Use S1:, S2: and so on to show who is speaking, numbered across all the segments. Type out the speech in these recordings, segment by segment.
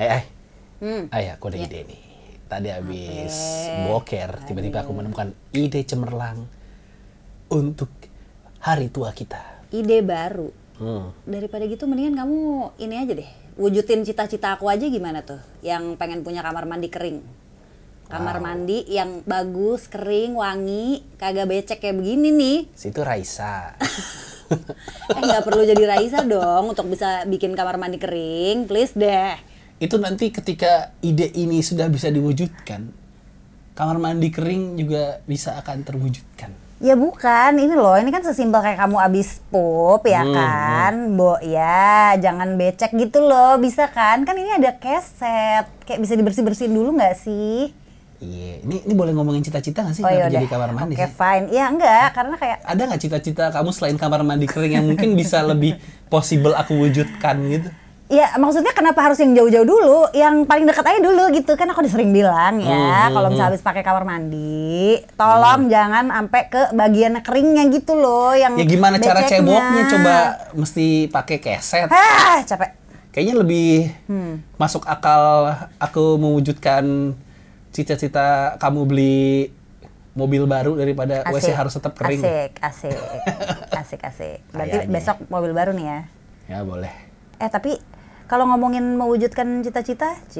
S1: Hmm.
S2: Ah Eh, ya, aku ada ide nih. Tadi habis boker, tiba-tiba aku menemukan ide cemerlang untuk hari tua kita.
S1: Ide baru.
S2: Hmm.
S1: Daripada gitu mendingan kamu ini aja deh. Wujudin cita-cita aku aja gimana tuh? Yang pengen punya kamar mandi kering. Kamar mandi yang bagus, kering, wangi, kagak becek kayak begini nih.
S2: Situ Raisa.
S1: Eh nggak perlu jadi Raisa dong untuk bisa bikin kamar mandi kering, please deh.
S2: Itu nanti ketika ide ini sudah bisa diwujudkan, kamar mandi kering juga bisa akan terwujudkan.
S1: Ya bukan, ini loh, ini kan sesimpel kayak kamu abis pup ya kan, Bo ya, jangan becek gitu loh, bisa kan? Kan ini ada keset, kayak bisa dibersih-bersihin dulu nggak sih?
S2: Iya, ini ini boleh ngomongin cita-cita nggak sih kenapa
S1: Oh, yaudah.
S2: jadi kamar mandi?
S1: iya, Oke
S2: sih?
S1: fine, ya enggak, karena kayak
S2: Ada nggak cita-cita kamu selain kamar mandi kering yang mungkin bisa lebih possible aku wujudkan gitu?
S1: Ya maksudnya kenapa harus yang jauh-jauh dulu, yang paling dekat aja dulu gitu kan aku udah sering bilang
S2: Hmm,
S1: ya kalau misalnya habis pakai kamar mandi, tolong jangan sampai ke bagian keringnya gitu loh yang
S2: Ya gimana cara
S1: beceknya.
S2: ceboknya coba mesti pakai keset.
S1: Hah capek.
S2: Kayaknya lebih
S1: Hmm.
S2: masuk akal aku mewujudkan cita-cita kamu beli mobil baru daripada WC harus tetap kering.
S1: Asik, asik, asik, asik. Berarti
S2: Kayaknya.
S1: besok mobil baru nih ya.
S2: Ya boleh.
S1: Eh tapi kalau ngomongin mewujudkan cita-cita, Ci,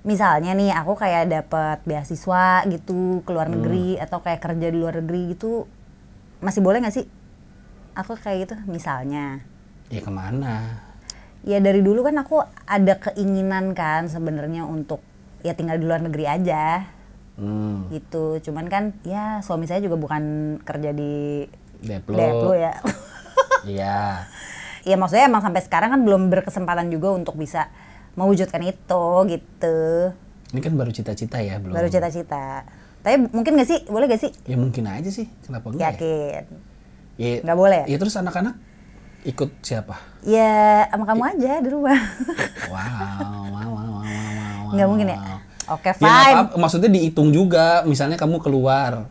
S1: misalnya nih aku kayak dapat beasiswa gitu ke luar negeri atau kayak kerja di luar negeri gitu, masih boleh nggak sih? Aku kayak gitu misalnya.
S2: Ya kemana?
S1: Ya dari dulu kan aku ada keinginan kan sebenarnya untuk ya tinggal di luar negeri aja
S2: Hmm,
S1: gitu. Cuman kan ya suami saya juga bukan kerja di
S2: Deplo.
S1: Deplo ya.
S2: Iya.
S1: ya maksudnya emang sampai sekarang kan belum berkesempatan juga untuk bisa mewujudkan itu gitu
S2: Ini kan baru cita-cita ya, belum.
S1: baru cita-cita tapi mungkin gak sih boleh gak sih
S2: Ya mungkin aja sih, kenapa enggak?
S1: yakin
S2: Ya,
S1: Nggak boleh?
S2: Ya terus anak-anak ikut siapa?
S1: ya sama kamu aja di rumah
S2: Wow, wow, wow, wow, wow, wow.
S1: nggak mungkin ya oke
S2: Ya, nggak
S1: fine
S2: apa-apa. maksudnya dihitung juga, misalnya kamu keluar.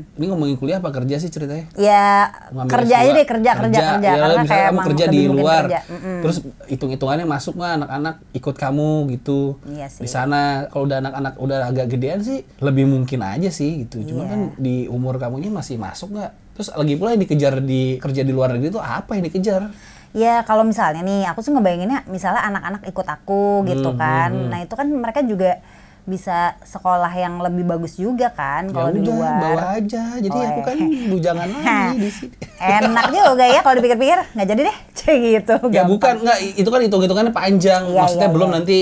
S2: Ini ngomongin kuliah apa kerja sih ceritanya?
S1: ya
S2: Ngambil
S1: Hmm. kerja
S2: S2.
S1: aja deh kerja kerja kerja,
S2: Ya,
S1: karena
S2: misalnya
S1: kayak
S2: kamu
S1: emang
S2: kerja
S1: lebih
S2: di
S1: mungkin
S2: luar.
S1: kerja. Mm-mm.
S2: Terus hitung-hitungannya masuk mah anak-anak ikut kamu gitu.
S1: Iya sih.
S2: Di sana kalau udah anak-anak udah agak gedean sih lebih mungkin aja sih gitu. Cuma
S1: Iya.
S2: kan di umur kamunya masih masuk nggak? Terus lagi pula yang dikejar di kerja di luar negeri itu apa yang dikejar?
S1: Ya kalau misalnya nih, aku sih ngebayanginnya misalnya anak-anak ikut aku gitu
S2: Hmm,
S1: kan. Nah itu kan mereka juga bisa sekolah yang lebih bagus juga kan
S2: Ya
S1: kalau di
S2: udah,
S1: luar.
S2: bawa aja. Jadi
S1: Oh,
S2: aku
S1: eh.
S2: kan bujangan lagi di sini.
S1: Enak juga ya kalau dipikir-pikir, nggak jadi deh, cie gitu.
S2: Ya
S1: gampang.
S2: bukan, nggak itu kan hitung-hitungannya panjang.
S1: Iya,
S2: Maksudnya
S1: iya,
S2: belum
S1: iya.
S2: nanti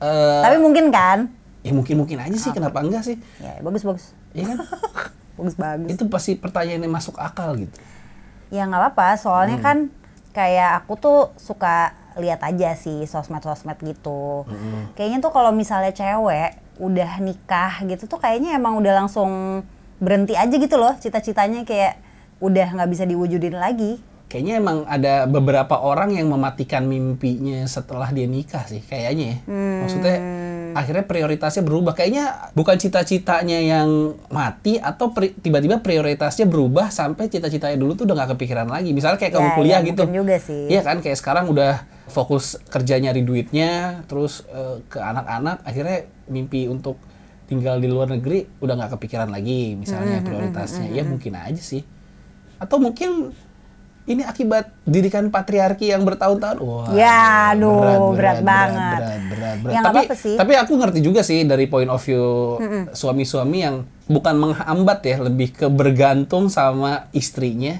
S2: eh,
S1: Tapi mungkin kan?
S2: ya mungkin-mungkin aja sih kenapa enggak sih?
S1: Ya bagus bagus,
S2: Iya kan?
S1: bagus bagus.
S2: itu pasti pertanyaan yang masuk akal gitu.
S1: Ya nggak apa-apa, soalnya kan kayak aku tuh suka lihat aja sih sosmed-sosmed gitu. Kayaknya tuh kalau misalnya cewek udah nikah gitu tuh kayaknya emang udah langsung berhenti aja gitu loh cita-citanya kayak udah nggak bisa diwujudin lagi.
S2: Kayaknya emang ada beberapa orang yang mematikan mimpinya setelah dia nikah sih kayaknya ya.
S1: Hmm.
S2: Maksudnya akhirnya prioritasnya berubah. Kayaknya bukan cita-citanya yang mati atau pri- tiba-tiba prioritasnya berubah sampai cita-citanya dulu tuh udah nggak kepikiran lagi. Misalnya kayak kamu
S1: Ya,
S2: kuliah
S1: ya,
S2: gitu.
S1: mungkin juga sih.
S2: Iya kan kayak sekarang udah fokus kerja nyari duitnya, terus eh, ke anak-anak akhirnya mimpi untuk tinggal di luar negeri udah nggak kepikiran lagi misalnya
S1: Mm-hmm,
S2: prioritasnya. Ya mungkin aja sih. Atau mungkin ini akibat didikan patriarki yang bertahun-tahun. Wah.
S1: Ya, aduh, berat banget.
S2: Berat, berat, berat.
S1: Ya, nggak
S2: tapi
S1: apa-apa sih.
S2: tapi aku ngerti juga sih dari point of view suami-suami yang bukan menghambat ya, lebih ke bergantung sama istrinya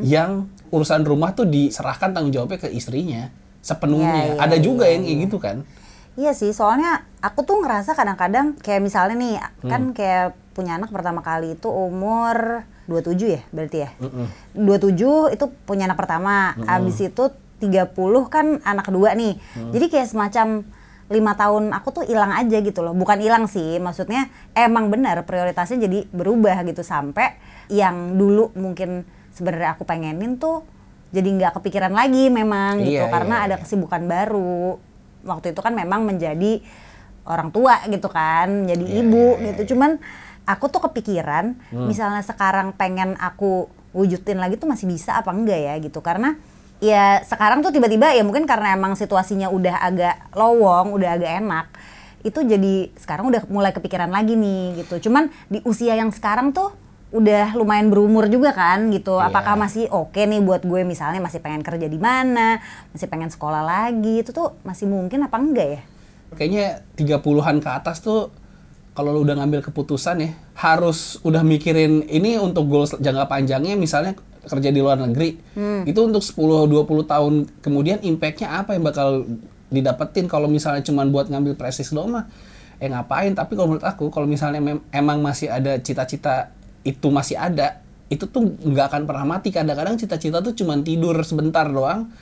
S2: yang urusan rumah tuh diserahkan tanggung jawabnya ke istrinya sepenuhnya.
S1: Ya, ya,
S2: Ada juga
S1: ya,
S2: yang kayak gitu kan.
S1: Iya sih, soalnya aku tuh ngerasa kadang-kadang kayak misalnya nih, kan
S2: Hmm.
S1: kayak punya anak pertama kali itu umur 27 ya berarti ya? 27 itu punya anak pertama, habis itu 30 kan anak kedua nih.
S2: Mm.
S1: Jadi kayak semacam lima tahun aku tuh hilang aja gitu loh. Bukan hilang sih, maksudnya emang benar prioritasnya jadi berubah gitu sampai yang dulu mungkin sebenarnya aku pengenin tuh jadi nggak kepikiran lagi memang gitu
S2: Iya, iya,
S1: karena ada
S2: iya.
S1: kesibukan baru. Waktu itu kan memang menjadi orang tua gitu kan, jadi
S2: Iya,
S1: ibu
S2: iya, Hmm.
S1: gitu. Cuman aku tuh kepikiran misalnya sekarang pengen aku wujudin lagi tuh masih bisa apa enggak ya gitu. Karena ya sekarang tuh tiba-tiba ya mungkin karena emang situasinya udah agak lowong, udah agak enak. itu jadi sekarang udah mulai kepikiran lagi nih gitu. Cuman di usia yang sekarang tuh udah lumayan berumur juga kan gitu.
S2: Iya.
S1: Apakah masih oke nih buat gue misalnya masih pengen kerja di mana, masih pengen sekolah lagi, itu tuh masih mungkin apa enggak ya?
S2: Kayaknya 30-an ke atas tuh kalau lu udah ngambil keputusan ya harus udah mikirin ini untuk goals jangka panjangnya misalnya kerja di luar negeri. Itu untuk 10 20 tahun kemudian impactnya apa yang bakal didapetin kalau misalnya cuman buat ngambil presis doang mah eh ngapain tapi kalau menurut aku kalau misalnya mem- emang masih ada cita-cita itu masih ada itu tuh nggak akan pernah mati kadang-kadang cita-cita tuh cuman tidur sebentar doang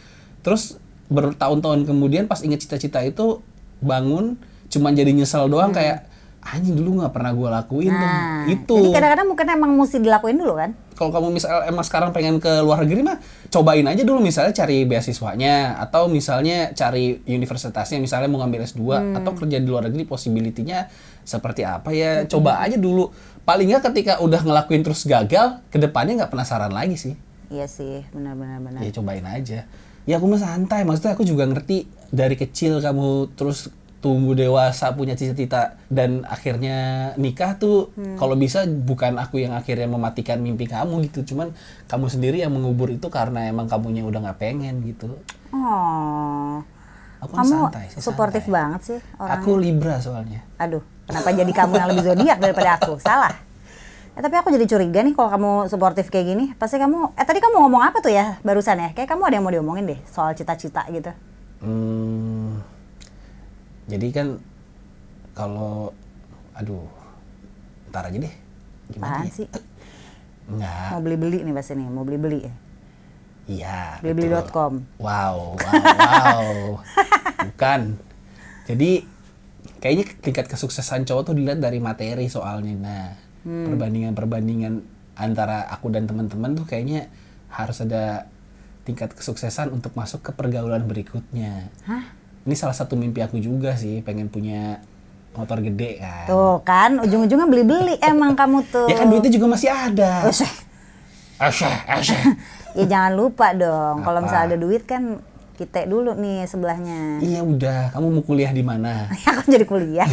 S2: terus bertahun-tahun kemudian pas inget cita-cita itu bangun cuman jadi nyesel doang kayak anjing dulu nggak pernah gua lakuin tuh
S1: Nah,
S2: itu
S1: jadi kadang-kadang mungkin emang mesti dilakuin dulu kan?
S2: kalau kamu misal emang sekarang pengen ke luar negeri mah cobain aja dulu misalnya cari beasiswanya atau misalnya cari universitasnya misalnya mau ngambil S2 atau kerja di luar negeri possibility-nya seperti apa ya coba aja dulu paling nggak ketika udah ngelakuin terus gagal kedepannya nggak penasaran lagi sih
S1: Iya sih, benar-benar benar.
S2: ya cobain aja ya aku mah santai maksudnya aku juga ngerti dari kecil kamu terus tumbuh dewasa punya cita-cita dan akhirnya nikah tuh
S1: Hmm.
S2: kalau bisa bukan aku yang akhirnya mematikan mimpi kamu gitu cuman kamu sendiri yang mengubur itu karena emang kamunya udah nggak pengen gitu
S1: Oh.
S2: aku mah
S1: Kamu
S2: santai sih,
S1: suportif
S2: santai.
S1: banget sih orang.
S2: aku libra soalnya
S1: Aduh, kenapa jadi kamu yang lebih zodiak daripada aku? Salah. Eh, tapi aku jadi curiga nih kalau kamu suportif kayak gini. Pasti kamu, eh tadi kamu ngomong apa tuh ya barusan ya? Kayak kamu ada yang mau diomongin deh soal cita-cita gitu.
S2: Hmm, jadi kan kalau aduh ntar aja deh gimana ya?
S1: Apaan sih?
S2: nggak
S1: Mau beli-beli nih pasti nih, mau beli-beli. ya.
S2: Iya. betul.
S1: Beli-beli.com.
S2: Wow, wow, wow. Bukan. Jadi kayaknya tingkat kesuksesan cowok tuh dilihat dari materi soalnya. Nah,
S1: Hmm.
S2: perbandingan-perbandingan antara aku dan teman-teman tuh kayaknya harus ada tingkat kesuksesan untuk masuk ke pergaulan berikutnya.
S1: Hah?
S2: Ini salah satu mimpi aku juga sih, pengen punya motor gede kan.
S1: Tuh kan, ujung-ujungnya beli-beli emang kamu tuh.
S2: Ya kan duitnya juga masih ada.
S1: Usah.
S2: Asyah, asyah.
S1: Ya jangan lupa dong, kalau
S2: Apa?
S1: misalnya ada duit kan kita dulu nih sebelahnya.
S2: Iya udah, kamu mau kuliah di mana?
S1: aku jadi kuliah.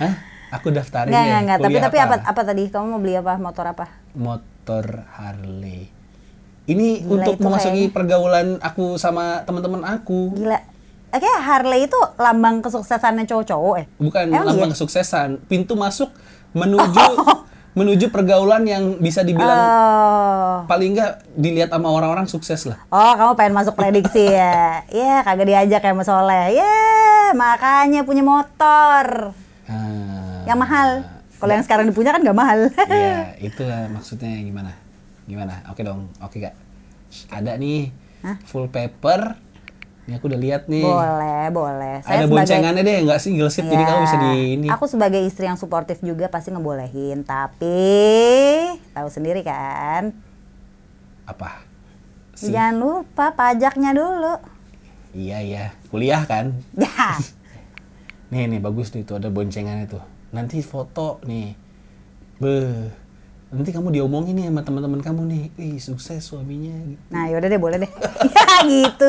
S2: Hah? Aku daftarin
S1: Enggak,
S2: deh.
S1: enggak, enggak. Tapi
S2: Kuliah
S1: tapi apa apa tadi? Kamu mau beli apa? Motor apa?
S2: Motor Harley. Ini
S1: Gila,
S2: untuk
S1: itu
S2: memasuki pergaulan aku sama teman-teman aku.
S1: Gila. Eh, Kayak Harley itu lambang kesuksesannya cowok-cowok eh.
S2: Bukan
S1: Emang
S2: lambang
S1: iya? Oh. kesuksesan.
S2: kesuksesan, pintu masuk menuju menuju pergaulan yang bisa dibilang
S1: Oh.
S2: paling enggak dilihat sama orang-orang sukses lah.
S1: Oh, kamu pengen masuk prediksi ya? Ya, kagak diajak kayak Mas Soleh. Ya, makanya punya motor
S2: Ah,
S1: yang mahal. Kalau yang sekarang dipunya kan nggak mahal.
S2: Iya, itu maksudnya gimana? Gimana? Oke dong. Oke, Kak. Ada nih full paper. Ini aku udah lihat nih.
S1: boleh, boleh.
S2: ada boncengannya deh, nggak single seat, jadi
S1: Ya,
S2: kamu bisa di ini.
S1: Aku sebagai istri yang suportif juga pasti ngebolehin, tapi tahu sendiri kan.
S2: Apa? Si-
S1: Jangan lupa pajaknya dulu.
S2: Iya iya, kuliah kan.
S1: Ya.
S2: Nih nih bagus nih tuh ada boncengannya tuh. Nanti foto nih. Be. Nanti kamu diomongin nih sama teman-teman kamu nih. Ih, sukses suaminya.
S1: Nah, yaudah deh boleh deh. ya gitu.